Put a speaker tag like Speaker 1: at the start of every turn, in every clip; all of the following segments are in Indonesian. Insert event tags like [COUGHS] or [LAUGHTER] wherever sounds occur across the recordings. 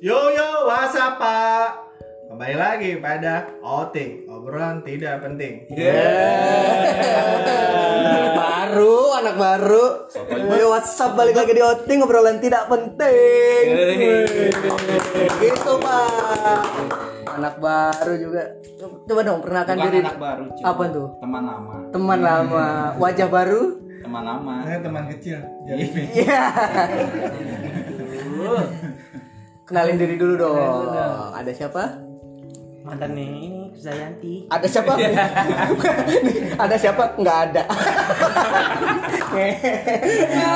Speaker 1: Yo yo, what's up, Pak? Kembali lagi pada OT, obrolan tidak penting.
Speaker 2: baru anak baru Yo WhatsApp balik lagi di OT ngobrolan tidak penting. Gitu pak. Anak baru juga. Coba dong perkenalkan
Speaker 3: Bukan
Speaker 2: diri.
Speaker 3: anak baru, cuy.
Speaker 2: Apa tuh?
Speaker 3: Teman lama.
Speaker 2: Teman lama, wajah baru.
Speaker 3: Teman lama.
Speaker 1: Saya teman kecil, jadi
Speaker 2: Iya. Kenalin diri dulu dong. Ada siapa?
Speaker 4: mantan ini Zayanti
Speaker 2: Ada siapa? [LAUGHS] ada siapa? Nggak [LAUGHS] ada.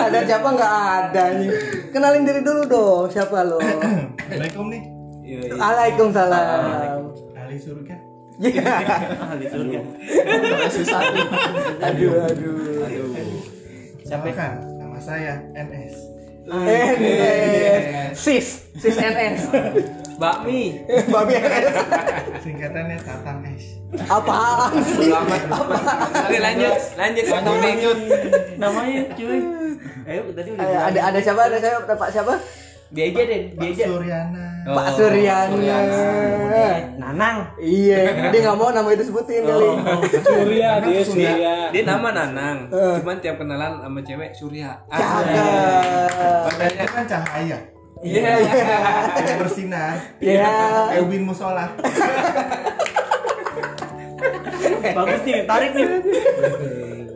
Speaker 2: ada siapa? Nggak ada. nih. Kenalin diri dulu dong. Siapa lo?
Speaker 1: Assalamualaikum nih,
Speaker 3: Iya, iya.
Speaker 2: Waalaikumsalam.
Speaker 1: ahli surga.
Speaker 2: Iya.
Speaker 4: ah di surga
Speaker 2: Aduh aduh.
Speaker 3: Aduh.
Speaker 1: Siapa? nama saya NS.
Speaker 2: NS. Eh, Sis, sis NS.
Speaker 4: bakmi
Speaker 2: Babi NS.
Speaker 1: Singkatannya Tatang S.
Speaker 2: Apaan sih?
Speaker 3: Oke, lanjut, lanjut, lanjut, lanjut.
Speaker 4: namanya cuy eh tadi udah
Speaker 2: Ada ada- ada siapa? Ada siapa? Ada Pak siapa?
Speaker 4: dia aja deh dia
Speaker 1: Pak
Speaker 4: aja
Speaker 1: Suryana.
Speaker 2: Pak Suryana.
Speaker 4: Nanang
Speaker 2: Iya, dia nggak mau nama itu sebutin kali.
Speaker 5: Surya dia
Speaker 4: ya.
Speaker 5: Surya.
Speaker 3: Dia nama Nanang, cuman tiap kenalan sama cewek Surya. Ah,
Speaker 2: Kagak.
Speaker 1: Padahal itu kan cahaya.
Speaker 3: Iya.
Speaker 1: Yang bersinar.
Speaker 2: Iya.
Speaker 1: Ewin Musola.
Speaker 4: bagus nih tarik nih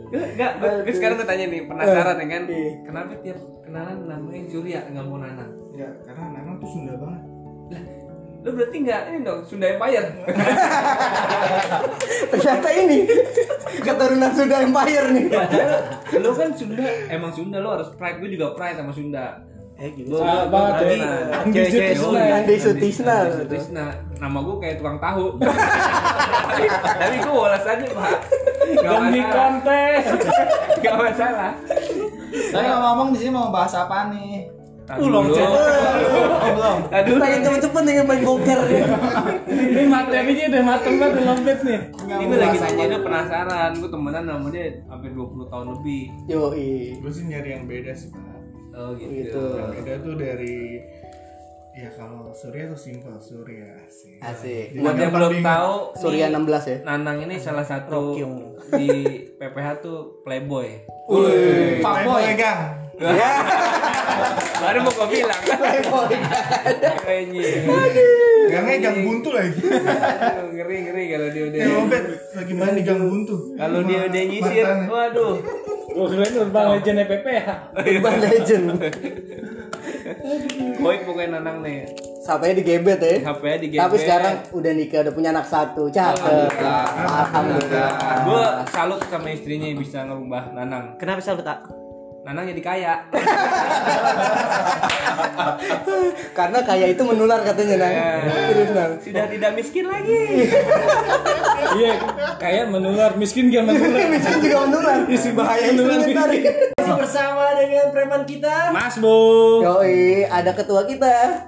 Speaker 3: Enggak, gue gue sekarang gue tanya nih, penasaran ya kan?
Speaker 2: Iya.
Speaker 3: Kenapa tiap kenalan namanya Surya nggak mau Nanang?
Speaker 1: Ya, karena memang tuh Sunda banget.
Speaker 3: Lu berarti nggak ini dong Sunda Empire.
Speaker 2: Ternyata ini keturunan Sunda Empire nih.
Speaker 3: lu kan Sunda, emang Sunda lu harus pride, gue juga pride sama Sunda.
Speaker 4: eh gitu
Speaker 5: Salah banget ya. Andi Sutisna.
Speaker 3: kan?
Speaker 2: Andi Sutisna.
Speaker 3: Andi Sutisna. Nama gue kayak tukang tahu. tapi, tapi gue wolas aja pak. Gak
Speaker 5: Dan
Speaker 3: masalah.
Speaker 5: di
Speaker 6: kan?
Speaker 5: kontes.
Speaker 3: Gak masalah.
Speaker 6: Tapi kalau ngomong di sini mau bahas apa nih?
Speaker 3: Tahan dulu. Oh. Tahan dulu.
Speaker 2: Pengen cepet-cepet nih main poker.
Speaker 5: Ini materinya udah mateng banget udah lembet nih.
Speaker 3: Ini gue lagi nanya dia penasaran. Gue temenan sama dia hampir 20 tahun lebih.
Speaker 2: Yoi.
Speaker 1: Gue sih nyari yang beda sih, Pak.
Speaker 3: Oh gitu.
Speaker 2: Gitu.
Speaker 1: Yang beda tuh dari ya kalau Surya tuh simple Surya asik.
Speaker 2: Asik.
Speaker 1: Jadi
Speaker 3: Buat yang
Speaker 1: gampang
Speaker 3: belum
Speaker 1: diingat.
Speaker 3: tahu,
Speaker 2: Surya
Speaker 3: nih,
Speaker 2: 16 ya.
Speaker 3: Nanang ini salah satu di PPH tuh playboy.
Speaker 1: Fuckboy. Gang.
Speaker 3: Baru mau gue bilang.
Speaker 2: Oh,
Speaker 3: Playboy. [LAUGHS]
Speaker 2: iya.
Speaker 3: Kayaknya.
Speaker 1: Gangnya
Speaker 5: Iya.
Speaker 1: gang buntu lagi.
Speaker 3: Aduh, ngeri ngeri kalau dia udah
Speaker 1: Eh, Obet, lagi main di gang buntu.
Speaker 3: kalau dia
Speaker 1: Sama
Speaker 3: udah nyisir
Speaker 1: mantannya.
Speaker 3: waduh
Speaker 5: Gue keren Urban Legend EPP ya.
Speaker 2: Urban Legend.
Speaker 3: koik pokoknya nanang nih
Speaker 2: Sampai digebet ya.
Speaker 3: HP nya di GB
Speaker 2: Tapi sekarang udah nikah, udah punya anak satu. Cakep. Alhamdulillah.
Speaker 3: gue salut sama istrinya bisa ngerubah nanang
Speaker 4: kenapa salut tak
Speaker 3: nanang jadi kaya
Speaker 2: Karena kayak itu menular katanya nang. Terus nang.
Speaker 3: sudah tidak miskin lagi
Speaker 5: Iya, kayak menular miskin gak
Speaker 2: [LAUGHS]
Speaker 5: menular.
Speaker 2: Miskin juga menular. Isi bahaya
Speaker 5: menular.
Speaker 4: masih bersama dengan preman kita
Speaker 5: Mas Bu,
Speaker 2: Yoi, ada ketua kita.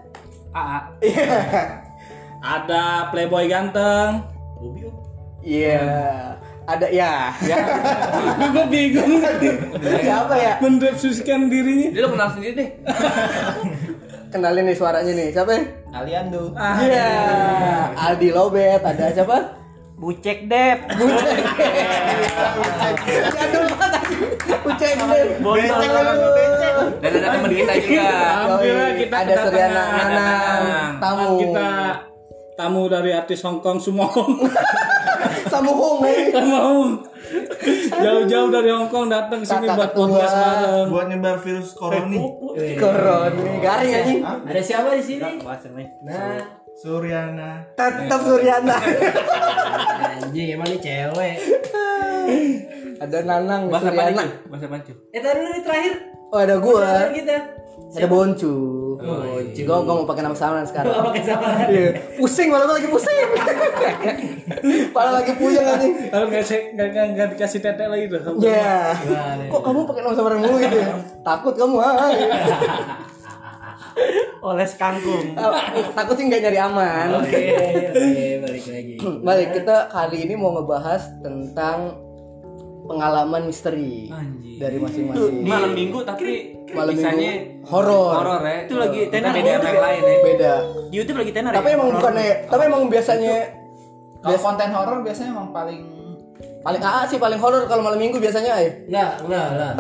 Speaker 2: Iya.
Speaker 3: AA
Speaker 5: ada playboy ganteng. [LAUGHS]
Speaker 2: Iya. Ada ya.
Speaker 5: Gue bingung tadi
Speaker 2: [LAUGHS] Siapa ya?
Speaker 5: mendeskripsikan dirinya.
Speaker 3: jadi lo kenal sendiri deh
Speaker 2: Kenalin nih suaranya nih. Siapa? ya?
Speaker 6: Kalian tuh.
Speaker 2: Iya. Aldi Lobet ada siapa?
Speaker 4: bucek dep
Speaker 2: Bucek. Jadul banget. anjing. Bucek deh.
Speaker 1: Becek orang tuh becek.
Speaker 3: dan ada teman kita juga
Speaker 5: Alhamdulillah
Speaker 2: Yoi,
Speaker 5: kita
Speaker 2: ada Suryana
Speaker 5: kedatangan.
Speaker 2: Nanang tamu
Speaker 5: Kita tamu dari artis Hong Kong semua.
Speaker 2: [LAUGHS] Samu Hong eh.
Speaker 5: mau jauh-jauh dari Hong Kong datang sini
Speaker 2: Kakak
Speaker 5: buat
Speaker 2: ketua.
Speaker 5: podcast bareng.
Speaker 1: Buat nyebar virus corona.
Speaker 2: Koroni garing anjing.
Speaker 5: Iya.
Speaker 4: ada siapa di sini nah
Speaker 1: Suryana.
Speaker 2: Tetap
Speaker 5: [LAUGHS]
Speaker 2: Suryana.
Speaker 4: anjing emang ini cewek
Speaker 2: Ada Nanang
Speaker 3: bahasa
Speaker 2: Suryana.
Speaker 3: pancu bahasa pancu
Speaker 4: eh taruh dulu nih terakhir
Speaker 2: Oh ada gua.
Speaker 4: kita
Speaker 2: Ada Boncu.
Speaker 5: Oh, iya.
Speaker 2: Boncu. Gua gua mau pakai nama samaran sekarang. [LAUGHS] Iya. Pusing malah gua lagi
Speaker 5: [LAUGHS]
Speaker 2: pusing. Malah lagi puyeng anjing.
Speaker 5: Kalau nggak sih nggak nggak nggak dikasih tetek lagi tuh. Iya.
Speaker 2: Ya. Kok kamu pakai nama samaran mulu gitu ya? Takut kamu, hai.
Speaker 4: oles kangkung
Speaker 2: Ah, Takut sih nggak nyari aman.
Speaker 6: Oh, iya.
Speaker 2: [CLEARS THROAT]
Speaker 4: oke balik lagi
Speaker 2: Balik kita kali ini mau ngebahas tentang pengalaman misteri
Speaker 3: Anjing.
Speaker 2: dari
Speaker 6: Itu
Speaker 2: masing-masing.
Speaker 6: malam minggu tapi
Speaker 2: Malam
Speaker 3: Bisanya
Speaker 2: minggu horor.
Speaker 3: horor ya.
Speaker 6: Itu lagi
Speaker 3: Kita
Speaker 6: tenar
Speaker 3: beda
Speaker 6: horor.
Speaker 3: sama yang lain ya.
Speaker 2: Beda.
Speaker 6: di YouTube lagi tenar.
Speaker 2: Tapi
Speaker 6: ya?
Speaker 2: emang bukannya, tapi emang biasanya
Speaker 6: Kalau konten horor biasanya emang paling
Speaker 2: paling AA sih paling horor kalau malam minggu biasanya ay.
Speaker 4: Enggak, enggak
Speaker 2: [LAUGHS]
Speaker 4: lah.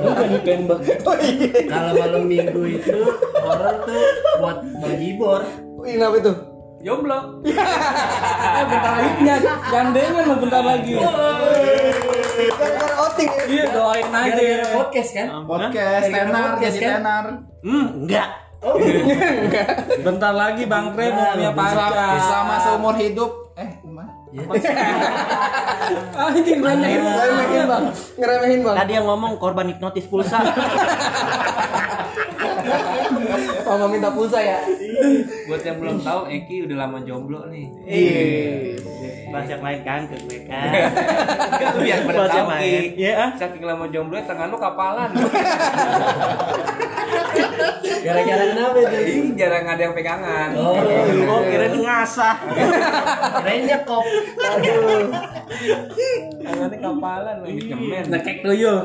Speaker 5: Bukan ditembak.
Speaker 2: Oh iya.
Speaker 4: Kalau malam minggu itu horor tuh buat menghibur.
Speaker 2: Wih, Kenapa itu?
Speaker 3: Jomblo.
Speaker 5: Eh bentar lagi punya gandengan lo bentar lagi.
Speaker 2: Gara-gara outing ya.
Speaker 5: Iya doain aja.
Speaker 4: Gara-gara podcast kan?
Speaker 6: podcast,
Speaker 5: gitu,
Speaker 4: Gara-gara
Speaker 6: tenar,
Speaker 4: podcast,
Speaker 6: jadi
Speaker 4: kan?
Speaker 6: tenar.
Speaker 5: Hmm, enggak.
Speaker 4: Oh,
Speaker 5: Bentar lagi Bang Kre mau punya pacar.
Speaker 6: Selama seumur hidup eh gimana?
Speaker 4: Iya.
Speaker 5: Anjing banyak
Speaker 2: Ah, Ngeremehin bang, ngeremehin bang.
Speaker 6: Tadi yang ngomong korban hipnotis pulsa.
Speaker 2: Mama minta pulsa ya.
Speaker 3: Buat yang belum tahu Eki udah lama jomblo nih.
Speaker 2: Iya.
Speaker 6: [LAUGHS] Bahas yang lain kan ke gue kan. [LAUGHS]
Speaker 3: Enggak lu biar pada
Speaker 6: Buat
Speaker 3: tahu
Speaker 6: yang
Speaker 3: Ki.
Speaker 6: lain. Iya, ah.
Speaker 3: Saking lama jomblo tangan lu kapalan.
Speaker 4: gara-gara kenapa itu?
Speaker 3: Ih, jarang ada yang pegangan.
Speaker 4: Oh,
Speaker 6: Oh, kira ini ngasah.
Speaker 4: kirain nyekop. Aduh.
Speaker 3: Tangannya kapalan lagi cemen.
Speaker 5: Nekek tuyul.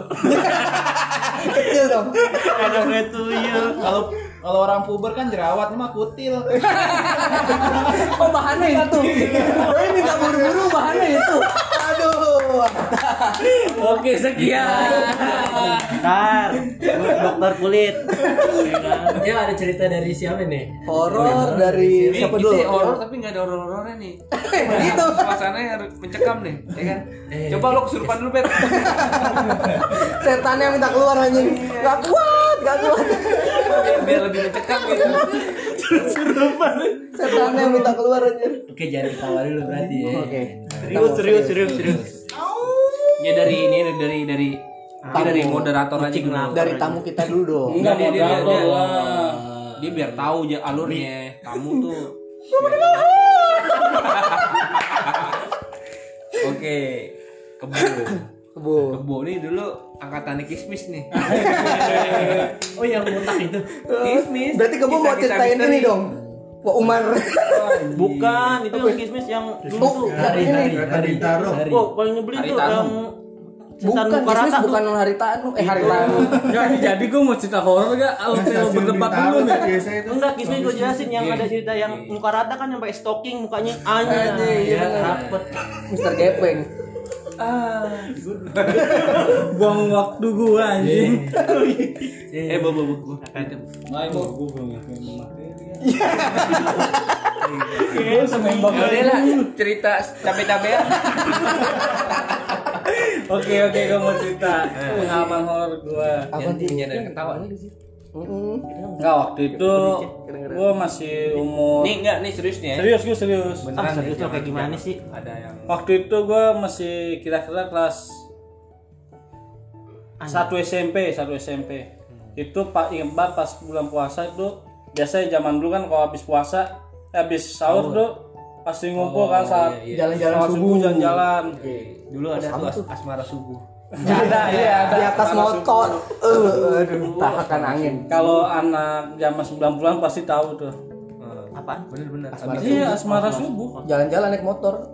Speaker 2: Kecil dong.
Speaker 6: Ada betuyul. Kalau
Speaker 1: Kalau orang puber kan jerawat, ini mah kutil.
Speaker 2: Oh bahannya itu. Doi minta buru-buru bahannya itu. Aduh.
Speaker 5: Oke, sekian.
Speaker 6: Bentar, gue dokter kulit.
Speaker 4: Ya ada cerita dari siapa nih?
Speaker 2: Horor dari
Speaker 3: Ini
Speaker 2: siapa
Speaker 3: kita
Speaker 2: dulu?
Speaker 3: horor tapi nggak ada horor-horornya nih.
Speaker 2: Eh, Begitu.
Speaker 3: Nah, Suasananya harus mencekam nih, ya kan?
Speaker 4: Eh.
Speaker 3: Coba lu kesurupan dulu, Bet.
Speaker 2: Setannya minta keluar anjing. Gak kuat, gak kuat.
Speaker 3: Biar- Biar lebih mencekam gitu.
Speaker 2: Setannya minta keluar anjing.
Speaker 4: Oke, jangan ketawa dulu berarti ya.
Speaker 2: Oke.
Speaker 6: Serius, serius, serius, serius.
Speaker 3: Ya dari ini dari dari ini dari moderator aja dulu.
Speaker 2: Dari tamu kita dulu [LAUGHS] dong.
Speaker 5: Enggak mau
Speaker 3: dia, dia,
Speaker 5: dapet
Speaker 3: dia.
Speaker 5: lah.
Speaker 3: Dia biar tahu aja alurnya tamu tuh. Oke, kebo.
Speaker 2: Kebo.
Speaker 3: Kebo nih dulu angkatannya kismis nih.
Speaker 4: Oh,
Speaker 6: iya,
Speaker 4: yang muntah itu.
Speaker 3: Kismis.
Speaker 2: Berarti kamu mau
Speaker 3: Kisah-kisah
Speaker 2: ceritain
Speaker 3: misteri.
Speaker 2: ini dong. Pak [LAUGHS] Umar.
Speaker 6: Bukan, itu yang kismis yang
Speaker 2: Tuh,
Speaker 6: dulu.
Speaker 2: dari ini.
Speaker 1: Tadi taruh.
Speaker 6: Oh, paling nyebelin
Speaker 3: Hari
Speaker 6: tuh
Speaker 3: Tanu.
Speaker 6: yang setan
Speaker 2: Bukan,
Speaker 6: muka
Speaker 2: bisnis
Speaker 6: rata
Speaker 2: bukan hari tanu, eh hari tanu.
Speaker 5: Enggak, ini jadi gue mau cerita horor enggak? Atau berdebat dulu nih?
Speaker 1: biasanya itu.
Speaker 6: Enggak, kismis gue jelasin yang ada cerita yang muka rata kan sampai stocking mukanya anjing.
Speaker 2: Anjing, iya
Speaker 6: Ya,
Speaker 2: bener.
Speaker 6: rapet.
Speaker 2: Mister Gepeng.
Speaker 5: Buang waktu gue anjing.
Speaker 3: Eh, bu, bu, bu, bu.
Speaker 5: Main mau gue belum Gue semen
Speaker 3: Udah lah, cerita cabe-cabean.
Speaker 5: Oke oke gue mau cerita
Speaker 3: Eh.
Speaker 5: pengalaman horor gue.
Speaker 2: Apa
Speaker 3: Yang
Speaker 2: tuh?
Speaker 3: nyadar ketawa nih.
Speaker 2: Mm-mm.
Speaker 5: Enggak waktu itu gue masih umur.
Speaker 3: Nih enggak nih serius nih ya.
Speaker 5: Serius gue serius.
Speaker 6: Ah, serius lo kayak gimana sih?
Speaker 3: Ada yang
Speaker 5: Waktu itu gue masih kira-kira kelas satu SMP satu SMP.
Speaker 3: Hmm.
Speaker 5: Itu pak ingat banget pas bulan puasa itu biasanya zaman dulu kan kalau habis puasa eh, habis sahur tuh pasti
Speaker 3: Oh,
Speaker 5: ngumpul
Speaker 3: iya,
Speaker 5: kan saat
Speaker 2: Jalan-jalan
Speaker 5: saat
Speaker 2: subuh.
Speaker 5: jalan-jalan.
Speaker 3: dulu ada tuh as- asmara subuh.
Speaker 2: Ada ya, di atas motor. Eh, aduh, tahakan angin.
Speaker 5: Kalau anak zaman 90-an pasti tahu tuh.
Speaker 6: Apaan?
Speaker 3: Bener-bener.
Speaker 2: Asmara
Speaker 5: Iya, asmara subuh.
Speaker 2: Jalan-jalan naik motor.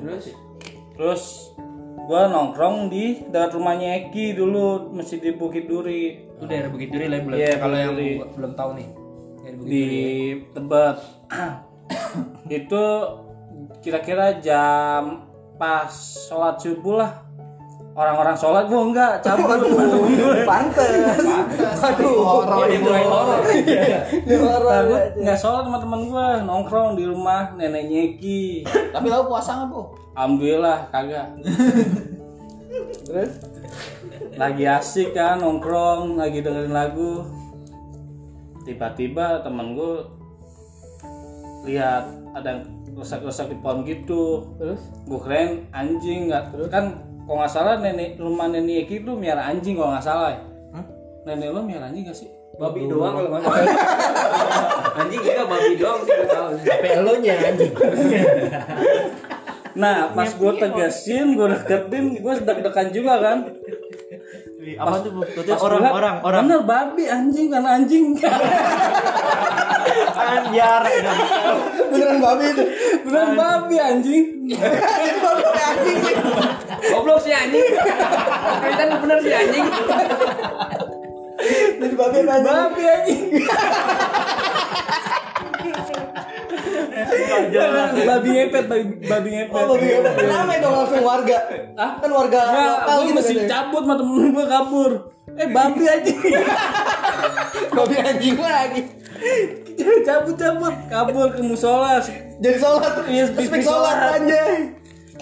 Speaker 3: Terus
Speaker 5: Terus gua nongkrong di dekat rumahnya Eki dulu, masih di Bukit Duri
Speaker 3: itu daerah Bukit Duri lah belum.
Speaker 5: Iya,
Speaker 3: kalau
Speaker 5: Bukit
Speaker 3: yang
Speaker 5: Duri.
Speaker 3: bu- belum tahu nih. Daerah Bukit
Speaker 5: di
Speaker 3: Duri.
Speaker 5: Tebet. [COUGHS] itu kira-kira jam pas sholat subuh lah. Orang-orang sholat gua enggak, cabut.
Speaker 2: Pantes. Aduh, horor. Iya.
Speaker 3: Dia mulai horor.
Speaker 2: Ini
Speaker 5: Nah,
Speaker 2: horor.
Speaker 5: gua enggak sholat sama teman gua, nongkrong di rumah neneknya Eki.
Speaker 6: Tapi lo puasa nggak, Bu?
Speaker 5: Alhamdulillah kagak.
Speaker 6: [LAUGHS]
Speaker 2: Terus
Speaker 5: lagi asik kan nongkrong lagi dengerin lagu tiba-tiba temen gue lihat ada yang rusak-rusak di pohon gitu
Speaker 2: terus
Speaker 5: gue keren anjing nggak kan kalau nggak salah nenek rumah nenek Eki itu miara anjing kalau nggak salah ya nenek lo miara anjing gak sih
Speaker 3: Babi doang kalau nggak salah. [LAUGHS] Anjing enggak babi doang sih gua tahu.
Speaker 4: Pelonya anjing.
Speaker 5: nah pas gue
Speaker 6: oh.
Speaker 5: tegasin gue deketin gue deg-degan juga kan
Speaker 6: Apa tuh, Bu? Itu
Speaker 5: Pas
Speaker 6: orang,
Speaker 5: gua liat,
Speaker 6: orang, orang.
Speaker 5: bener babi anjing kan anjing [LAUGHS]
Speaker 6: Anjar.
Speaker 2: beneran babi itu.
Speaker 5: bener babi anjing
Speaker 2: Anjing babi anjing.
Speaker 3: Goblok sih anjing. Cerita lu bener sih anjing.
Speaker 2: Jadi babi apa aja? Babi anjing.
Speaker 5: babi ngepet, babi, babi ngepet.
Speaker 2: Oh, babi apa? Ramai dong langsung warga. Kan warga
Speaker 5: Nah,
Speaker 2: lokal
Speaker 5: gue
Speaker 2: gitu
Speaker 5: mesti
Speaker 2: kan.
Speaker 5: cabut sama temen gue kabur. Eh babi aja.
Speaker 2: Babi anjing lagi.
Speaker 5: [LAUGHS] cabut cabut kabur ke musola.
Speaker 2: Jadi sholat,
Speaker 5: Iya,
Speaker 2: speak
Speaker 5: bisik
Speaker 2: sholat
Speaker 5: sholat.
Speaker 2: anjay.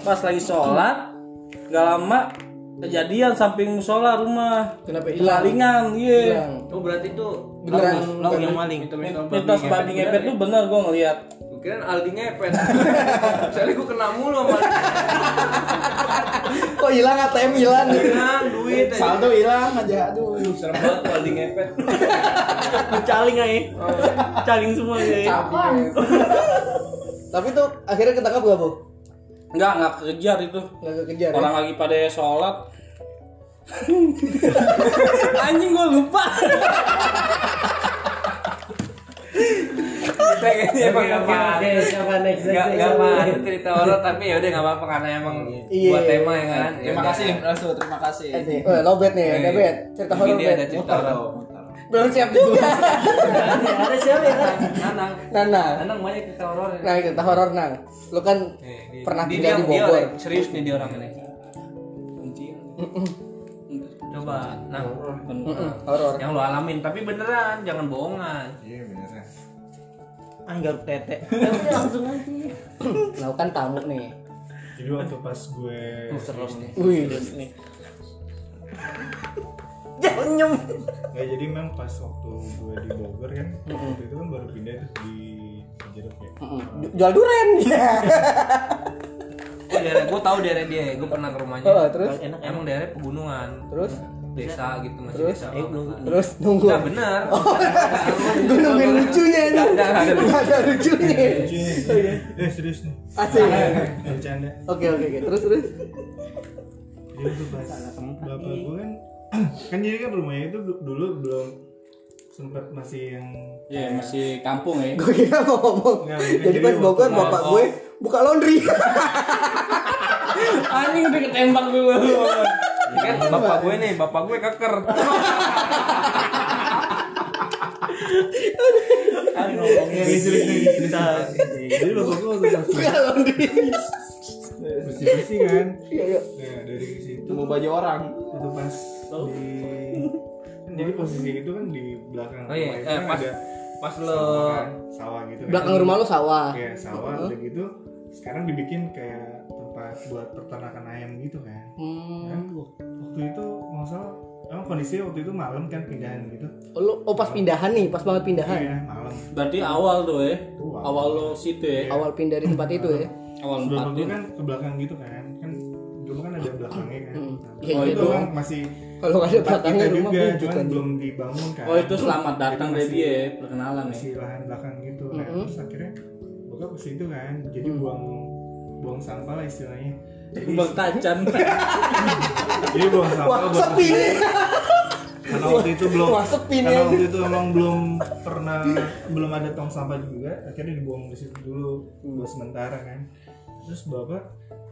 Speaker 5: Pas lagi sholat, gak lama kejadian samping musola rumah.
Speaker 2: Kenapa hilang?
Speaker 5: Kelalingan, iya.
Speaker 2: Hilang.
Speaker 6: Oh berarti itu
Speaker 2: Beneran,
Speaker 6: lauk
Speaker 2: bukan
Speaker 6: yang maling.
Speaker 5: Mitos babi
Speaker 3: ya.
Speaker 5: ngepet tuh bener gue ngeliat.
Speaker 3: Mungkin Aldi ngepet. [LAUGHS] Soalnya gue kena mulu sama Aldi.
Speaker 2: Kok hilang ATM hilang?
Speaker 3: Nah, duit aja.
Speaker 2: Saldo hilang aja aduh.
Speaker 3: Serem banget tuh Aldi ngepet.
Speaker 6: Caling aja. Caling semua ya.
Speaker 2: Tapi tuh akhirnya ketangkap gak, Bu?
Speaker 5: Enggak, enggak kejar itu.
Speaker 2: Gak kekejar. ya?
Speaker 5: Orang lagi pada sholat. Anjing gue lupa.
Speaker 3: Kita kayaknya emang gak
Speaker 4: Oke,
Speaker 3: pantas.
Speaker 4: siapa next?
Speaker 3: Gak
Speaker 4: Next,
Speaker 3: gak
Speaker 4: next.
Speaker 3: pantas cerita horor tapi ya udah gak apa-apa karena emang
Speaker 2: Iya.
Speaker 3: buat tema ya kan. Ya
Speaker 7: Terima
Speaker 3: udah.
Speaker 7: kasih, Rasul. Terima kasih.
Speaker 2: Ini, eh, lobet nih,
Speaker 3: Eh,
Speaker 2: lobet. iya. Cerita horor
Speaker 3: Ini dia ada
Speaker 2: lobet.
Speaker 3: cerita horor.
Speaker 2: Belum siap juga. [LAUGHS]
Speaker 6: Ada siapa ya?
Speaker 3: Nanang.
Speaker 2: Nana,
Speaker 3: Nanang banyak cerita horor. ya.
Speaker 2: nah cerita horor nang. Lu kan
Speaker 3: Nih, nih.
Speaker 2: pernah
Speaker 3: Dia-
Speaker 2: tinggal di ya.
Speaker 3: dia- dia
Speaker 2: Bogor.
Speaker 3: orang- Serius nih dia orangnya. nih. Coba, nah,
Speaker 2: Mm-mm, Hmm, Horor.
Speaker 3: yang lo alamin tapi beneran jangan bohongan.
Speaker 1: Iya beneran.
Speaker 6: Anggap tete. Ya udah, langsung aja.
Speaker 2: Nah, lu kan tamu nih.
Speaker 1: Jadi waktu pas gue
Speaker 2: Wih,
Speaker 6: Jangan nyem.
Speaker 1: nggak ya jadi memang pas waktu gue di Bogor kan, waktu itu kan baru pindah tuh di Jeruk ya.
Speaker 2: ju- jual [LAUGHS] duren. Iya.
Speaker 3: Gue daerah, gue tahu daerah dia, gue pernah ke rumahnya.
Speaker 2: Oh, terus
Speaker 6: Enak enak.
Speaker 3: Emang daerah pegunungan,
Speaker 2: terus
Speaker 1: Iya.
Speaker 3: desa gitu masih
Speaker 2: Terus?
Speaker 3: desa.
Speaker 6: Eh, belum.
Speaker 2: terus nunggu.
Speaker 3: Nah,
Speaker 2: [LAUGHS]
Speaker 3: bener.
Speaker 2: Gue nungguin lucunya ini.
Speaker 3: Nggak, nggak ada lucu.
Speaker 2: Nggak ada lucunya.
Speaker 1: Cuy,
Speaker 5: Oh, iya.
Speaker 1: eh serius nih,
Speaker 2: Asik.
Speaker 1: Iya. nggak bercanda.
Speaker 2: Oke, oke, oke. Terus terus.
Speaker 1: Jadi waktu Iya, pas bapak
Speaker 2: iya.
Speaker 1: gue kan, [CLEARS THROAT] kan jadi kan rumahnya itu du- dulu belum sempat masih yang
Speaker 5: Iya, masih kampung ya.
Speaker 2: Gue kira mau ngomong.
Speaker 1: Nggak, mungkin
Speaker 2: Jadi
Speaker 1: jadi
Speaker 2: pas Bogor
Speaker 1: waktu-
Speaker 2: bapak gue buka laundry. [LAUGHS]
Speaker 5: Anjing udah ketembak dulu.
Speaker 3: Ini kan bapak gue nih, bapak gue keker.
Speaker 1: Iya, serius nih, serius nih. Jadi bapak gue waktu pas
Speaker 2: Buka laundry.
Speaker 1: bersih-bersih kan,
Speaker 2: Iya, iya.
Speaker 1: nah dari situ
Speaker 7: Mau baju orang.
Speaker 1: waktu pas di kan jadi posisi itu kan di belakang
Speaker 3: Oh iya,
Speaker 1: rumah itu
Speaker 3: eh,
Speaker 1: kan
Speaker 3: pas-
Speaker 1: ada
Speaker 3: Pas lo
Speaker 1: sawah kan, sawah gitu kan.
Speaker 2: Belakang rumah lu sawah.
Speaker 1: Iya, sawah udah gitu sekarang dibikin kayak tempat buat peternakan ayam gitu kan
Speaker 2: Hmm.
Speaker 1: Kan waktu itu nggak salah emang kondisinya waktu itu malam kan pindahan gitu
Speaker 2: Oh, lu- oh pas pindahan nih, pas banget pindahan.
Speaker 1: iya malam
Speaker 5: Berarti awal tuh
Speaker 3: eh.
Speaker 5: ya. Awal lo situ
Speaker 1: iya.
Speaker 5: ya.
Speaker 2: Awal pindah dari tempat itu ya.
Speaker 5: Awal
Speaker 1: sebelum
Speaker 5: empat
Speaker 1: itu kan ke belakang gitu kan kan dulu kan ada belakangnya kan
Speaker 2: Hmm.
Speaker 1: Nah,
Speaker 2: Iya,
Speaker 1: waktu
Speaker 2: iya,
Speaker 1: itu
Speaker 2: doang.
Speaker 1: kan masih
Speaker 2: Kalau nggak ada
Speaker 1: tempat kita
Speaker 2: belakangnya rumah
Speaker 1: juga
Speaker 2: bujuk
Speaker 1: cuman
Speaker 2: kan.
Speaker 1: belum dibangun kan
Speaker 5: Oh itu selamat
Speaker 1: Jadi
Speaker 5: datang dari
Speaker 1: masih-
Speaker 5: dia
Speaker 3: eh,
Speaker 5: ya, perkenalan ya.
Speaker 1: masih lahan belakang gitu nah
Speaker 2: Mm-mm.
Speaker 1: terus akhirnya bokap ke situ kan jadi
Speaker 2: Mm.
Speaker 1: buang buang sampah lah istilahnya jadi,
Speaker 5: Bang Tacan.
Speaker 1: jadi buang sampah
Speaker 2: Wah,
Speaker 1: buang
Speaker 2: sepi nih.
Speaker 1: karena waktu itu belum
Speaker 2: Wah, sepi nih.
Speaker 1: karena waktu itu emang belum pernah belum ada tong sampah juga akhirnya dibuang di situ dulu buat sementara kan terus bapak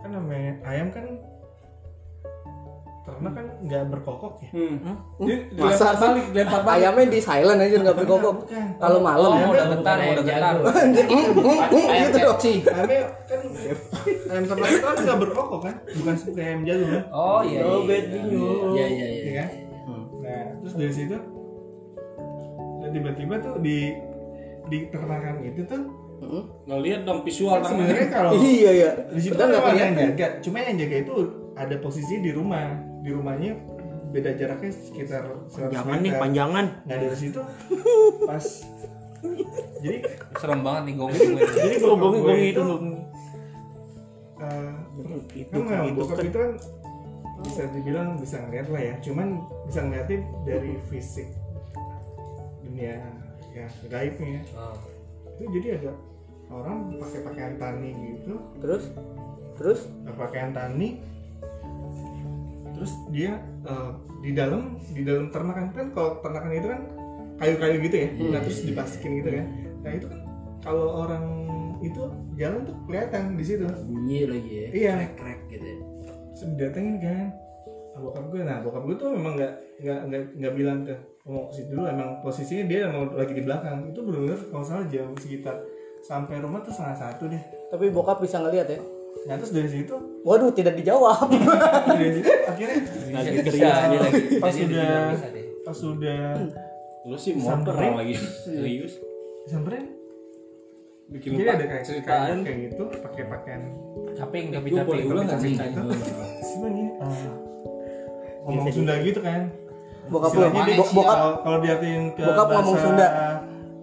Speaker 1: kan namanya ayam kan karena kan nggak berkokok ya
Speaker 5: Hmm. Di-
Speaker 2: Masa
Speaker 5: dilempar balik, dilempar balik.
Speaker 2: Ayamnya di silent aja nggak berkokok.
Speaker 1: Kan bukan
Speaker 2: Kalau malam
Speaker 3: Oh, udah getar ya, udah getar.
Speaker 1: Oh,
Speaker 2: ayam gitu dong.
Speaker 1: ayamnya kan ayam tempat itu kan nggak berkokok kan bukan seperti ayam jago kan
Speaker 3: Oh iya. iya, iya.
Speaker 7: Iya, iya, iya.
Speaker 1: Iya kan? Nah, terus dari situ nah, tiba-tiba tuh di di peternakan itu tuh
Speaker 2: Mm-mm.
Speaker 5: Lo lihat dong visual
Speaker 1: kan
Speaker 5: tangannya.
Speaker 1: sebenarnya kalau
Speaker 2: Iya ya.
Speaker 1: di situ kan
Speaker 2: Kan nggak
Speaker 1: ada yang
Speaker 2: kelihatan.
Speaker 1: jaga, cuma yang jaga itu ada posisi di rumah, di rumahnya beda jaraknya sekitar 100
Speaker 6: Jangan nih
Speaker 1: meter.
Speaker 6: panjangan.
Speaker 1: Nah dari [LAUGHS] situ pas jadi
Speaker 3: Serem banget nih gonggong gue.
Speaker 1: jadi gue
Speaker 6: Gonggong
Speaker 1: gue
Speaker 6: gonggong
Speaker 1: itu
Speaker 6: itu.
Speaker 1: eh,
Speaker 6: Itu
Speaker 1: kan nggak
Speaker 6: itu
Speaker 1: bokap
Speaker 6: kan.
Speaker 1: itu kan bisa dibilang bisa ngeliat lah ya cuman bisa ngeliatnya dari fisik dunia ya gaibnya
Speaker 2: Ah.
Speaker 3: Oh.
Speaker 1: itu jadi ada orang pakai pakaian tani gitu
Speaker 2: Terus terus
Speaker 1: eh, pakaian tani terus dia eh, di dalam di dalam ternakan kan kalau ternakan itu kan kayu-kayu gitu ya
Speaker 7: Hmm.
Speaker 1: nah terus dipasikin gitu kan nah itu kan kalau orang itu jalan tuh kelihatan di situ
Speaker 7: Bunyi lagi ya.
Speaker 3: eh.
Speaker 1: Iya.
Speaker 7: Krek gitu ya.
Speaker 1: Terus terus didatengin kan ah, bokap gue nah bokap gue tuh memang nggak nggak nggak nggak bilang ke mau ke situ dulu emang posisinya dia emang lagi di belakang itu benar-benar kalau nggak salah jam sekitar sampai rumah tuh setengah satu deh
Speaker 2: Tapi bokap bisa ngelihat ya.
Speaker 1: nah terus dari situ [LAUGHS]
Speaker 2: Waduh, tidak dijawab. [LAUGHS]
Speaker 1: dari situ akhirnya
Speaker 7: Lagi
Speaker 3: Iya,
Speaker 7: teriak dia lagi.
Speaker 1: [LAUGHS] pas
Speaker 7: Jadi
Speaker 1: sudah
Speaker 7: dibilang bisa deh.
Speaker 1: pas sudah
Speaker 5: Lu sih motor
Speaker 1: Samperin.
Speaker 5: lagi serius.
Speaker 1: disamperin
Speaker 5: Bikin
Speaker 1: jadi
Speaker 5: lupa
Speaker 1: ada kayak
Speaker 5: ceritaan.
Speaker 1: ceritaan kayak gitu pakai pakaian
Speaker 7: Capek enggak
Speaker 3: Gue boleh ulang nggak sih?
Speaker 1: gitu sebenarnya Ah, ngomong Sunda gitu kan
Speaker 2: Bokap lu,
Speaker 1: Istilahnya dia-
Speaker 2: bo- bokap
Speaker 1: kalau- kalau diartiin ke
Speaker 2: bokap ngomong Sunda.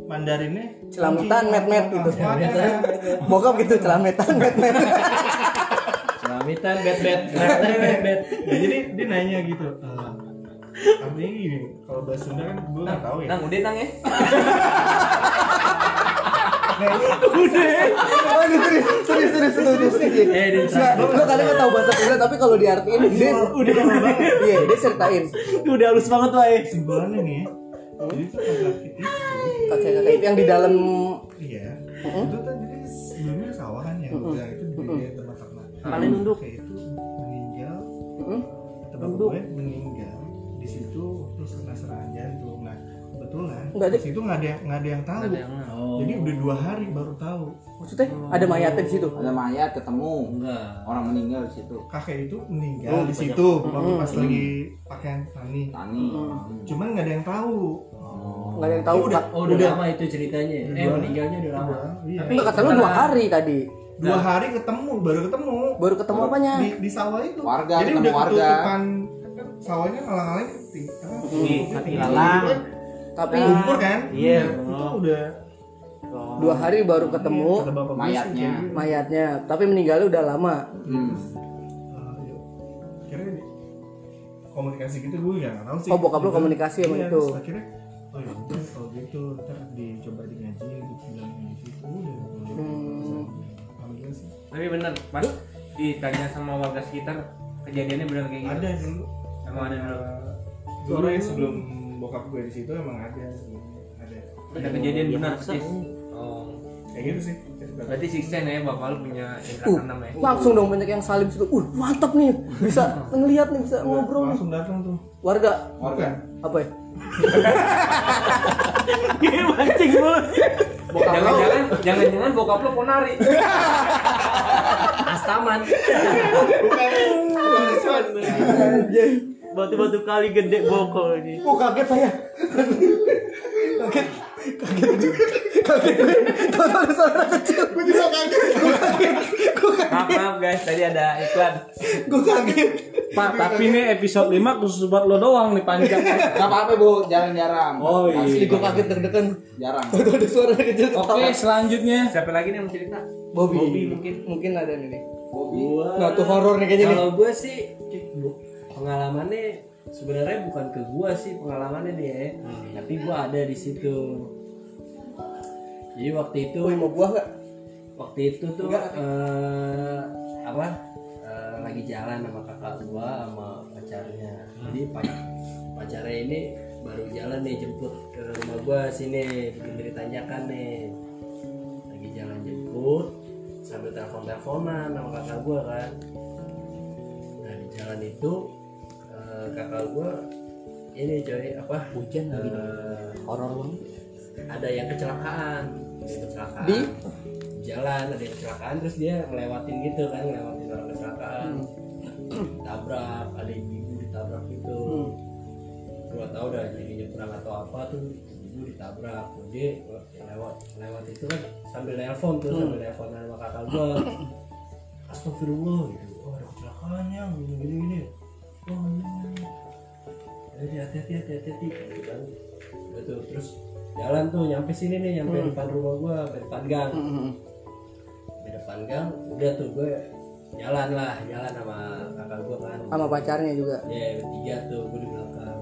Speaker 1: Mandarinnya Ah,
Speaker 2: Celametan, met-met gitu.
Speaker 1: Celametan, met-met.
Speaker 2: bokap gitu celametan, met-met.
Speaker 4: Selamitan bet bet. Bet bet.
Speaker 1: Ya, jadi dia nanya gitu. "Eh, artinya gini, kalau bahasa Sunda kan gue nggak tahu ya.
Speaker 7: Nang udah nang ya.
Speaker 2: Oh, ini serius, [LAUGHS] serius, serius, serius, serius.
Speaker 4: Eh, dia
Speaker 2: Nggak, Gua kadang nggak tahu bahasa Sunda, tapi kalau diartiin, dia
Speaker 1: Udah lama banget.
Speaker 2: iya, dia ceritain.
Speaker 6: Udah halus banget lah ya.
Speaker 1: Simbolannya nih. ya, Jadi tuh laki itu,
Speaker 2: Kakek-kakek itu yang di dalam
Speaker 1: iya. Itu tuh jadi sebelumnya sawahan ya. Gue bilang itu di tempat ternak.
Speaker 6: Paling nunduk.
Speaker 1: Kayak itu meninggal.
Speaker 2: Mm.
Speaker 1: Tempat gue meninggal. Di situ terus kena serangan jantung. Nah, kebetulan
Speaker 2: Nggak
Speaker 1: di
Speaker 2: ada-
Speaker 1: situ nggak ada yang- nggak ada yang tahu. Jadi udah dua hari baru tahu
Speaker 2: maksudnya ada mayatnya di situ.
Speaker 7: Ada mayat ketemu.
Speaker 4: Enggak.
Speaker 7: Orang meninggal di situ.
Speaker 1: kakek itu meninggal di situ waktu pas lagi pakaian tani.
Speaker 7: Tani.
Speaker 1: Cuman nggak ada yang tahu.
Speaker 2: Nggak ada yang tahu.
Speaker 4: Udah,
Speaker 2: Kak.
Speaker 4: oh, udah lama itu ceritanya. ya? Eh, meninggalnya udah lama.
Speaker 1: Iya.
Speaker 2: Nggak kata lu dua hari tadi.
Speaker 1: dua hari ketemu baru ketemu
Speaker 2: Baru ketemu apanya?
Speaker 1: di, di sawah itu
Speaker 7: Warga,
Speaker 1: jadi
Speaker 7: ketemu
Speaker 1: udah
Speaker 7: warga. Hmm,
Speaker 1: ketutupan kan sawahnya ngalang-ngalang keting apa
Speaker 6: mati
Speaker 1: ketinggian
Speaker 6: lalang.
Speaker 1: gitu kan,
Speaker 2: Tapi
Speaker 1: lumpur kan
Speaker 6: Iya.
Speaker 1: Nah, itu udah
Speaker 2: dua hari baru ketemu
Speaker 1: kata bapak gue sih,
Speaker 7: Mayatnya.
Speaker 1: kayak gitu.
Speaker 2: mayatnya, tapi meninggalnya udah lama.
Speaker 7: Hmm.
Speaker 1: Ah, iya. akhirnya di- komunikasi gitu gue ya nggak tahu sih
Speaker 2: Oh, bokap lu komunikasi sama
Speaker 1: Iya,
Speaker 2: itu.
Speaker 1: terus akhirnya oh ya udah kalau gitu ntar dicoba di ngaji gitu bilang gitu udah
Speaker 2: Hmm.
Speaker 1: alhamdulillah sih
Speaker 3: Tapi bener, pas ditanya sama warga sekitar kejadiannya bener kayak gitu.
Speaker 1: ada dulu
Speaker 3: Emang ada dulu.
Speaker 1: dulu ya sebelum bokap gue di situ emang ada sebelumnya ada
Speaker 3: Ada kejadian bener.
Speaker 6: masa?
Speaker 3: Sis. Oh.
Speaker 1: kayak gitu sih cerita
Speaker 3: Berarti sixteen ya bapak lu punya indra
Speaker 2: Uh,
Speaker 3: keenam ya.
Speaker 2: langsung dong banyak yang salim situ. Uh, mantap nih. Bisa ngelihat nih, bisa ngobrol nih.
Speaker 1: langsung datang tuh
Speaker 2: Warga
Speaker 1: bukan
Speaker 2: apa ya?
Speaker 6: [LAUGHS] Mancing mulu.
Speaker 3: Jangan-jangan, jangan-jangan bokap lu ponari.
Speaker 4: Astaman.
Speaker 1: bukan bukan Iswan.
Speaker 6: Batu-batu kali gede bokol ini.
Speaker 2: Oh, kaget saya. kaget. Kaget juga. Kaget gue. Kalau ada suara kecil.
Speaker 1: gue juga kaget
Speaker 3: Maaf maaf guys, tadi ada iklan.
Speaker 2: Gue kaget.
Speaker 5: Pak, tapi ini episode 5 khusus buat lo doang nih panjang.
Speaker 7: Gak apa-apa bu, jarang-jarang.
Speaker 5: Oh, iya.
Speaker 7: Asli,
Speaker 2: Gue kaget deg-degan.
Speaker 7: Jarang.
Speaker 2: Kalau ada suara kecil.
Speaker 5: Oke, selanjutnya
Speaker 3: Siapa lagi nih yang mau cerita?
Speaker 2: Bobby. mungkin mungkin ada nih. nih.
Speaker 7: Bobby.
Speaker 2: Nah, tuh horor nih kayaknya nih.
Speaker 4: Kalau gue sih bu- pengalamannya sebenarnya bukan ke gue sih pengalamannya dia, ya.
Speaker 6: Hmm.
Speaker 4: tapi gue ada di situ. Jadi waktu itu
Speaker 2: Woi, mau buah enggak?
Speaker 4: waktu itu tuh eh, apa eh, lagi jalan sama kakak gua sama pacarnya jadi pa- pacarnya ini baru jalan nih jemput ke rumah gua sini bikin dari tanjakan nih lagi jalan jemput sambil telepon teleponan sama kakak gua kan nah di jalan itu eh, kakak gua ini coy apa hujan lagi horor banget ada yang kecelakaan ada yang kecelakaan
Speaker 2: Di?
Speaker 4: jalan ada yang kecelakaan terus dia ngelewatin gitu kan ngelewatin orang kecelakaan Hmm. tabrak ada ibu ditabrak gitu gua tau dah jadi nyebrang atau apa tuh ibu ditabrak dia lewat lewat itu kan sambil nelpon tuh sambil nelpon sama kakak gua astagfirullah gitu oh ada kecelakaan yang gini gini gini oh ini jadi hati-hati hati-hati gitu kan Udah tuh, terus jalan tuh nyampe sini nih nyampe depan rumah gua sampai depan gang di depan gang udah tuh gue jalan lah jalan sama kakak gue kan
Speaker 2: Sama pacarnya juga.
Speaker 4: ya bertiga tuh gue di belakang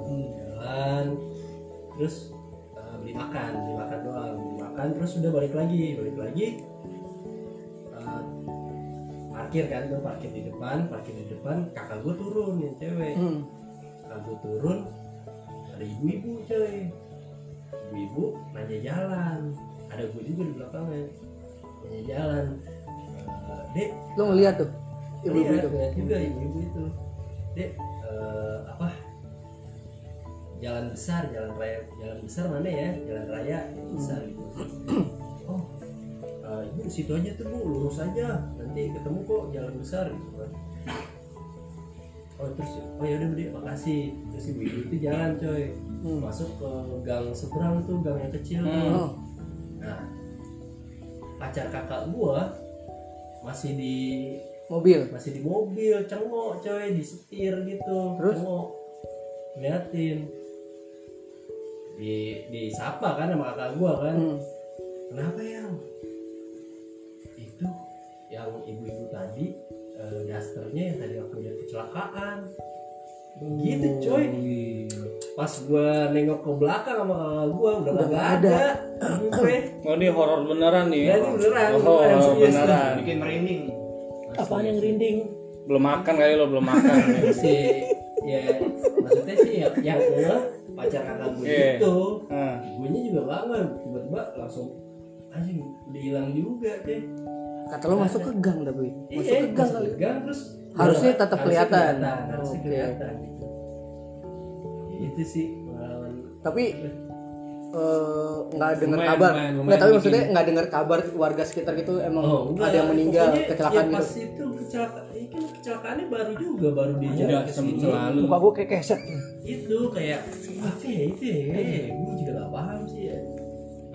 Speaker 4: jalan terus eh, beli makan beli makan doang beli makan terus udah balik lagi balik lagi eh, parkir kan gue parkir di depan parkir di depan kakak gue turun yang cewek
Speaker 2: Hmm.
Speaker 4: kakak gue turun ada ibu-ibu coy ibu-ibu nanya jalan ada gue juga di belakangnya nanya jalan Eh, dek
Speaker 2: Lu ngeliat tuh. Ibu-ibu ya.
Speaker 4: Iya,
Speaker 2: itu.
Speaker 4: ngeliat juga ibu-ibu itu dek eh, apa jalan besar jalan raya jalan besar mana ya jalan raya jalan besar gitu
Speaker 2: Hmm.
Speaker 4: oh eh, ibu di situ aja tuh bu lurus aja nanti ketemu kok jalan besar gitu kan oh terus oh yaudah dek makasih terus ibu ibu itu jalan coy
Speaker 2: Hmm.
Speaker 4: masuk ke gang seberang tuh gang yang kecil tuh.
Speaker 2: Oh.
Speaker 4: nah pacar kakak gua masih di
Speaker 2: Mobil.
Speaker 4: masih di mobil cengok coy di setir gitu
Speaker 2: Terus?
Speaker 4: cengok ngeliatin di disapa kan sama kakak gua kan
Speaker 2: Hmm.
Speaker 4: kenapa yang itu yang ibu-ibu tadi eh, dasternya yang tadi aku lihat kecelakaan gitu coy pas gua nengok ke belakang sama kakak gua udah,
Speaker 2: Udah
Speaker 4: nggak
Speaker 2: nggak
Speaker 4: ada,
Speaker 2: ada.
Speaker 4: [CLEARS THROAT] Gue,
Speaker 5: Oh ini horor beneran nih.
Speaker 4: Ya, ini beneran.
Speaker 5: Oh,
Speaker 4: Beneran,
Speaker 5: horor
Speaker 4: serius.
Speaker 5: beneran.
Speaker 7: bikin merinding
Speaker 4: apaan yang rinding
Speaker 5: Belum makan kali lo belum makan.
Speaker 4: si ya maksudnya sih ya, yang gue pacar kakak gue
Speaker 5: Iya.
Speaker 4: itu
Speaker 5: Nah,
Speaker 4: gue juga bangun tiba-tiba langsung anjing udah hilang juga deh
Speaker 2: Kata lo masuk ke gang tapi. Masuk
Speaker 4: Iya,
Speaker 2: ke gang
Speaker 4: masuk
Speaker 2: kali.
Speaker 4: ke gang, terus
Speaker 2: Harusnya
Speaker 4: Harusnya
Speaker 2: tetap kelihatan.
Speaker 4: harusnya
Speaker 2: Oke.
Speaker 4: kelihatan gitu. Ya, itu sih pengalaman
Speaker 2: Tapi eh, nggak dengar
Speaker 3: Lumayan,
Speaker 2: kabar.
Speaker 3: lumayan, lumayan
Speaker 2: Nggak tapi
Speaker 3: bikin.
Speaker 2: maksudnya nggak dengar kabar warga sekitar gitu emang
Speaker 4: Oh, enggak.
Speaker 2: ada yang meninggal
Speaker 4: Pokoknya,
Speaker 2: kecelakaan
Speaker 4: ya, pas
Speaker 2: gitu.
Speaker 4: itu kecelakaan ini kan kecelakaannya baru juga baru dia
Speaker 3: Udah
Speaker 4: jalan ke
Speaker 3: Iya, sem-
Speaker 4: sini.
Speaker 3: selalu.
Speaker 2: Muka gue kayak keset.
Speaker 4: itu kayak apa ya itu ya gue juga gak paham sih ya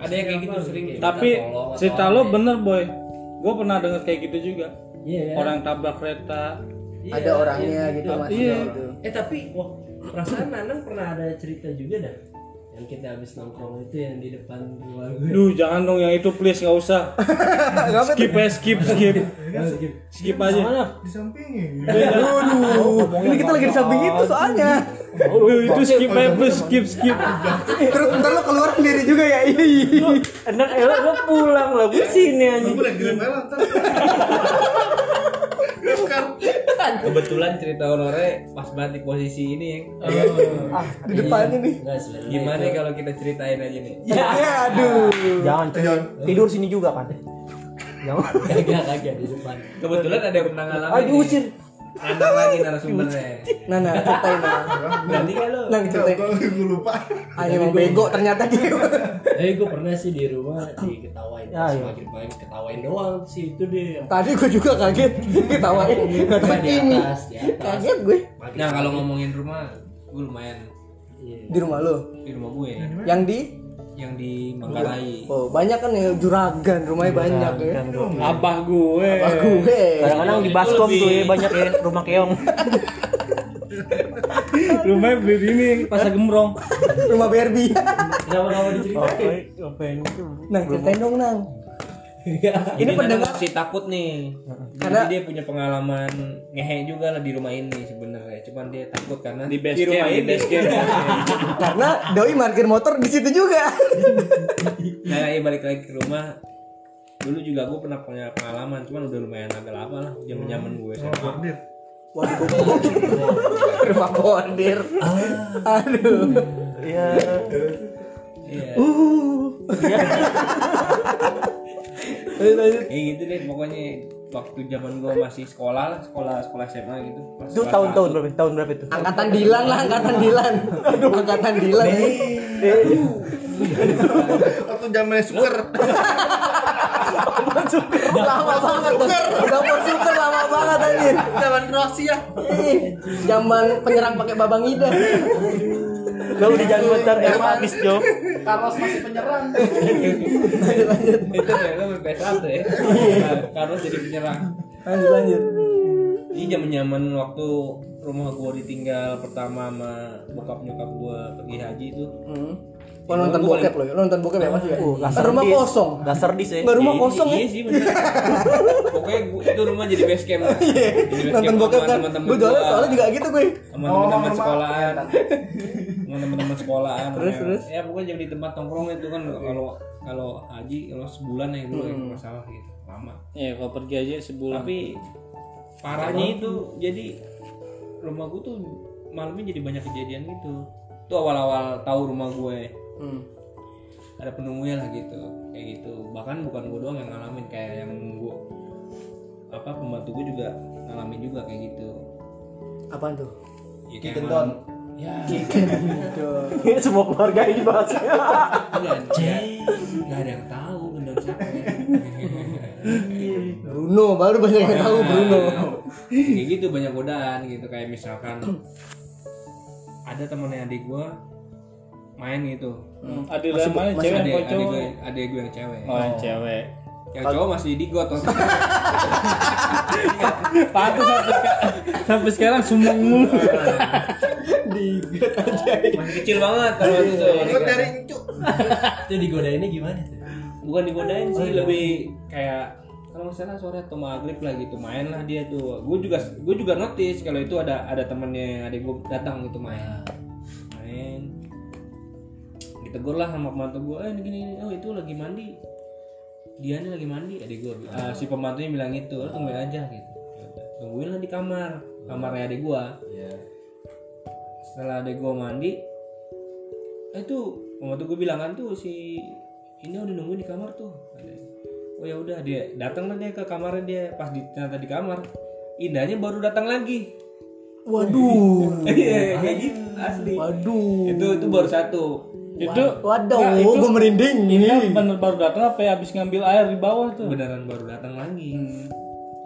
Speaker 3: Ada yang kayak gitu sering.
Speaker 4: Kayak
Speaker 5: [LAUGHS] Tapi
Speaker 4: minta tolong atau
Speaker 5: cerita
Speaker 4: apa
Speaker 5: lo
Speaker 4: ya.
Speaker 5: bener boy. Gue pernah denger kayak gitu juga.
Speaker 4: Iya, kan?
Speaker 5: Orang tabrak kereta.
Speaker 4: Iya,
Speaker 2: Ada orangnya
Speaker 4: iya,
Speaker 2: gitu
Speaker 4: iya.
Speaker 2: mas.
Speaker 5: Iya.
Speaker 2: Gitu.
Speaker 4: Eh tapi wah perasaan Nanang pernah ada cerita juga dah yang kita habis nongkrong itu yang di depan rumah gue.
Speaker 5: Duh jangan dong yang itu please nggak usah. skip ya skip skip skip aja.
Speaker 1: Mana? Di sampingnya. [LAUGHS]
Speaker 2: Aduh, ini kita lagi di samping itu soalnya.
Speaker 5: Duh, itu skip aja please skip skip.
Speaker 2: Terus ntar lo keluar sendiri juga ya.
Speaker 6: Enak elok lo pulang lah gue sini anjing.
Speaker 1: Gue lagi di lewat. ntar. Bukan.
Speaker 3: Kebetulan cerita honornya pas banget di posisi ini yang
Speaker 2: ah,
Speaker 4: Iya.
Speaker 2: di depannya nih.
Speaker 4: Enggak sebenarnya.
Speaker 6: Iya.
Speaker 3: gimana
Speaker 4: itu-
Speaker 3: kalau kita ceritain aja nih.
Speaker 4: Iya.
Speaker 2: Ya, aduh.
Speaker 6: Jangan cuy.
Speaker 1: Jangan.
Speaker 6: Tidur sini juga kan. Jangan.
Speaker 4: Kagak kagak di depan.
Speaker 3: Kebetulan ada yang pernah ngalamin.
Speaker 6: Ayo diusir.
Speaker 3: Ada lagi narasumbernya.
Speaker 2: Nah, nah, ceritain nah.
Speaker 4: Berani kan lo?
Speaker 2: Nah, ceritain.
Speaker 1: Gue lupa.
Speaker 2: Ah, ini emang bego ternyata dia.
Speaker 4: Tapi gue pernah sih di rumah diketawain
Speaker 6: Ya,
Speaker 4: pas
Speaker 6: iya.
Speaker 4: maghrib main ketawain doang sih itu deh. yang
Speaker 2: Tadi gue juga kaget ketawain.
Speaker 4: Cuma
Speaker 2: Ketawain
Speaker 4: di
Speaker 2: ini.
Speaker 4: atas, di atas.
Speaker 2: Kaget gue.
Speaker 4: Maghrib-
Speaker 3: Nah kalau ngomongin rumah, gue lumayan
Speaker 4: Iya.
Speaker 2: Di rumah lo.
Speaker 3: di rumah gue
Speaker 2: Yang di
Speaker 3: yang di Manggarai.
Speaker 2: Oh, banyak kan ya juragan, rumahnya banyak ya.
Speaker 5: Abah gue.
Speaker 2: Wah, gue.
Speaker 6: Kadang-kadang di baskom tuh ya banyak ya rumah keong.
Speaker 5: Rumahnya beli ini pasar gembrong.
Speaker 2: Rumah Barbie.
Speaker 4: Kenapa kamu diceritain?
Speaker 2: Nang, ceritain dong, Nang. Iya. Ini
Speaker 3: Jadi
Speaker 2: pendengar
Speaker 3: Nana masih takut nih.
Speaker 2: Karena-
Speaker 3: Jadi dia punya pengalaman ngehe juga lah di rumah ini sebenarnya. Cuman dia takut karena
Speaker 5: Di base
Speaker 3: rumah
Speaker 5: camp, di
Speaker 3: ini.
Speaker 5: base camp.
Speaker 2: karena doi parkir motor di situ juga.
Speaker 3: [LAUGHS] nah, iya, balik lagi ke rumah. Dulu juga gue pernah punya pengalaman, cuman udah lumayan agak lama lah
Speaker 2: Hmm.
Speaker 3: zaman-zaman
Speaker 2: Oh.
Speaker 3: gue SMA.
Speaker 1: Bordir.
Speaker 2: Waduh, [LAUGHS] rumah bordir. Ah. Aduh.
Speaker 6: Iya.
Speaker 3: Iya.
Speaker 2: Lanjut, lanjut.
Speaker 3: Kayak gitu deh pokoknya waktu zaman gue masih sekolah lah, sekolah sekolah SMA gitu. Pas
Speaker 6: Itu
Speaker 3: kelas
Speaker 6: tahun-tahun
Speaker 3: satu.
Speaker 6: berapa? Tahun berapa itu?
Speaker 2: Angkatan Dilan lah, angkatan Dilan. Angkatan Dilan.
Speaker 1: Waktu zamannya suker.
Speaker 2: lama banget tuh. Dapur super lama banget anjir.
Speaker 1: Zaman Kroasia.
Speaker 2: Ih, Zaman penyerang pakai babang ida.
Speaker 6: Lo udah jangan bentar eh, emang habis Jo.
Speaker 7: Carlos masih penyerang
Speaker 2: Lanjut lanjut.
Speaker 3: Itu ternyata berpes satu
Speaker 2: [LAUGHS]
Speaker 3: ya. Karena jadi penyerang.
Speaker 2: Lanjut lanjut.
Speaker 3: Ini zaman zaman waktu rumah gue ditinggal pertama sama bokap nyokap gue pergi haji itu.
Speaker 2: Hmm. Lo nonton bokep lo, ya? Lo nonton bokep ya Mas ya?
Speaker 6: Uh,
Speaker 2: Kan rumah
Speaker 6: dis.
Speaker 2: kosong.
Speaker 6: Dasar dis ya.
Speaker 2: Nggak rumah
Speaker 3: Iya,
Speaker 2: kosong
Speaker 3: iya
Speaker 2: ya?
Speaker 3: sih bener. Pokoknya gua, itu rumah jadi base camp lah. Jadi base
Speaker 2: Oh, iya. Nonton
Speaker 3: camp
Speaker 2: bokep
Speaker 3: sama
Speaker 2: kan.
Speaker 3: teman-teman
Speaker 2: Gue
Speaker 3: gua,
Speaker 2: soalnya soalnya juga gitu gue.
Speaker 3: sama teman-teman
Speaker 7: rumah.
Speaker 3: sekolahan. Sama teman-teman sekolahan.
Speaker 2: Terus,
Speaker 3: ya.
Speaker 2: terus.
Speaker 3: Ya pokoknya jadi tempat nongkrong itu kan kalau kalau haji kalau sebulan ya dulu ya
Speaker 2: Hmm.
Speaker 3: kalau nggak salah gitu. Lama.
Speaker 5: Iya, kalau pergi aja sebulan.
Speaker 3: Tapi parahnya itu jadi rumah gue tuh malamnya jadi banyak kejadian gitu. Itu awal-awal tahu rumah gue
Speaker 2: Hmm.
Speaker 3: ada penunggunya lah gitu kayak gitu bahkan bukan gue doang yang ngalamin kayak yang nunggu apa pembantu gue juga ngalamin juga kayak gitu
Speaker 2: Apaan tuh?
Speaker 3: ya, kayak
Speaker 7: Chicken
Speaker 3: malam-
Speaker 7: don.
Speaker 3: ya
Speaker 2: Semua keluarga ini bahasnya.
Speaker 3: nggak ada nggak ada yang tahu gendon siapa
Speaker 2: [LAUGHS] Bruno baru banyak yang tahu Bruno.
Speaker 3: kayak gitu banyak godaan gitu kayak misalkan ada temennya adik gua main gitu
Speaker 5: Ada dalam mana
Speaker 3: masih
Speaker 5: cewek
Speaker 3: adik,
Speaker 5: apa
Speaker 3: adik
Speaker 5: cowok?
Speaker 3: gue adik gue yang cewek
Speaker 5: Oh, yang cewek.
Speaker 3: yang cowok masih di got waktu itu.
Speaker 5: [LAUGHS] Pantes sampai seka- sampai sekarang sumeng [LAUGHS] mulu.
Speaker 3: masih kecil banget kalau waktu
Speaker 5: Iya,
Speaker 3: itu
Speaker 1: Ikut dari Cuk.
Speaker 4: itu digodainnya gimana tuh?
Speaker 3: bukan digodain
Speaker 5: Oh,
Speaker 3: sih
Speaker 5: iya.
Speaker 3: lebih kayak kalau nggak salah sore atau maghrib lah gitu main lah dia tuh gue juga gue juga notice kalau itu ada ada temennya ada gue datang gitu main
Speaker 5: Ah.
Speaker 3: main ditegur lah sama pembantu gue eh ini gini gini. oh itu lagi mandi dia ini lagi mandi adik gue Ah, si pembantunya bilang gitu "Lo tungguin aja gitu tungguin lah di kamar kamarnya adik gue setelah adek gue mandi eh tuh waktu gue bilang kan tuh si ini udah nungguin di kamar tuh Katanya. oh ya udah dia datang lah dia ke kamarnya dia pas di ternyata di kamar indahnya baru datang lagi
Speaker 2: Waduh.
Speaker 3: [LAUGHS] Iya, kayak gitu asli
Speaker 2: Waduh.
Speaker 3: itu itu baru satu
Speaker 5: Itu
Speaker 2: Waduh,
Speaker 5: Nah, itu-
Speaker 2: gue merinding.
Speaker 5: ini bener baru datang apa ya habis ngambil air di bawah tuh.
Speaker 3: beneran baru datang lagi
Speaker 2: Hmm.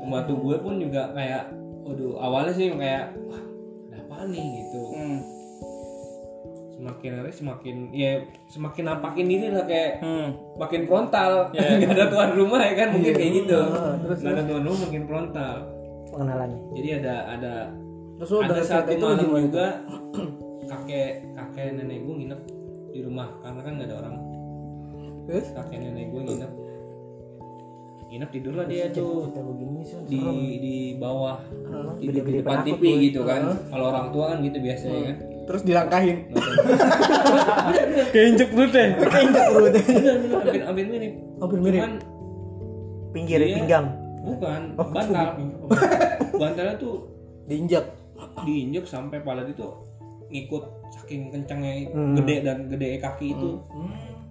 Speaker 3: pembantu gue pun juga kayak waduh awalnya sih kayak wah ada apa nih gitu
Speaker 5: Hmm.
Speaker 3: semakin hari semakin ya semakin nampakin diri lah kayak
Speaker 5: Hmm.
Speaker 3: makin frontal
Speaker 2: Ya,
Speaker 3: [LAUGHS] nggak ada tuan rumah ya kan
Speaker 2: Iya.
Speaker 3: mungkin kayak gitu
Speaker 2: Ah,
Speaker 3: nggak ada tuan rumah makin frontal
Speaker 2: Pengenalannya.
Speaker 3: jadi ada ada
Speaker 2: Terus lo
Speaker 3: ada
Speaker 2: dari cerita
Speaker 3: satu
Speaker 2: itu
Speaker 3: malam
Speaker 2: gimana
Speaker 3: juga [CLEARS THROAT] kakek kakek nenek gue nginep di rumah karena kan nggak ada orang
Speaker 2: Terus?
Speaker 3: kakek nenek gue nginep
Speaker 2: Iya.
Speaker 3: nginep tidur lah dia tuh di di bawah tidur di
Speaker 2: gede-gede
Speaker 3: depan
Speaker 2: penakut
Speaker 3: TV
Speaker 2: gue.
Speaker 3: gitu kan kalau orang tua kan gitu biasanya
Speaker 2: [LAUGHS]
Speaker 3: kan
Speaker 2: Terus dilangkahin.
Speaker 5: Keinjek lu deh.
Speaker 2: Keinjak perutnya.
Speaker 3: hampir hampir mirip
Speaker 2: Hampir mirip.
Speaker 3: Cuman
Speaker 2: Pinggir
Speaker 3: Iya.
Speaker 2: pinggang. [LAUGHS] Oh,
Speaker 3: bukan bantal [LAUGHS] bantalnya tuh
Speaker 2: Diinjak.
Speaker 3: diinjek sampai pala itu ngikut saking kencengnya
Speaker 2: Hmm.
Speaker 3: gede dan gede kaki itu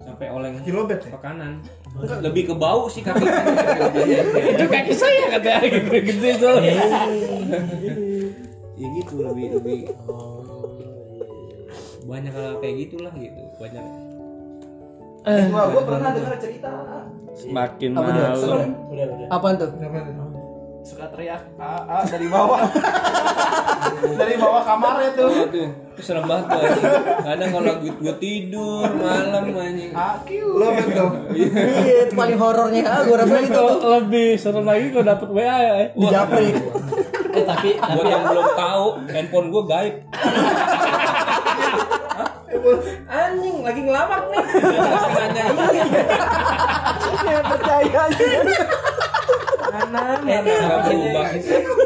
Speaker 3: sampai oleng
Speaker 1: Kaki lobet ya?
Speaker 3: ke kanan lebih ke bau sih kaki
Speaker 5: Itu kaki saya kata gede-gede soalnya.
Speaker 3: ya gitu lebih lebih Oh, iya, banyak hal kayak gitulah gitu banyak
Speaker 7: Gua gua pernah dengar cerita
Speaker 5: Semakin
Speaker 2: Apa dia?
Speaker 5: malu.
Speaker 4: udah udah
Speaker 2: Apaan tuh?
Speaker 1: Apa itu?
Speaker 7: suka teriak AA dari bawah. dari bawah kamarnya tuh.
Speaker 3: aduh itu serem banget tuh anjing. kadang kalau gue, gue tidur malam anjing
Speaker 7: Akiu.
Speaker 1: Lobet dong.
Speaker 2: Iya, itu paling horornya. Ah, gue rasa itu.
Speaker 5: Itu [LAUGHS] lebih serem lagi kalau dapet WA ya. eh.
Speaker 2: Dijaprik.
Speaker 4: eh tapi
Speaker 3: buat yang belum tahu handphone gue gaib Hah? anjing lagi ngelamak nih nanya iya
Speaker 2: Percaya aja.
Speaker 3: nggak berubah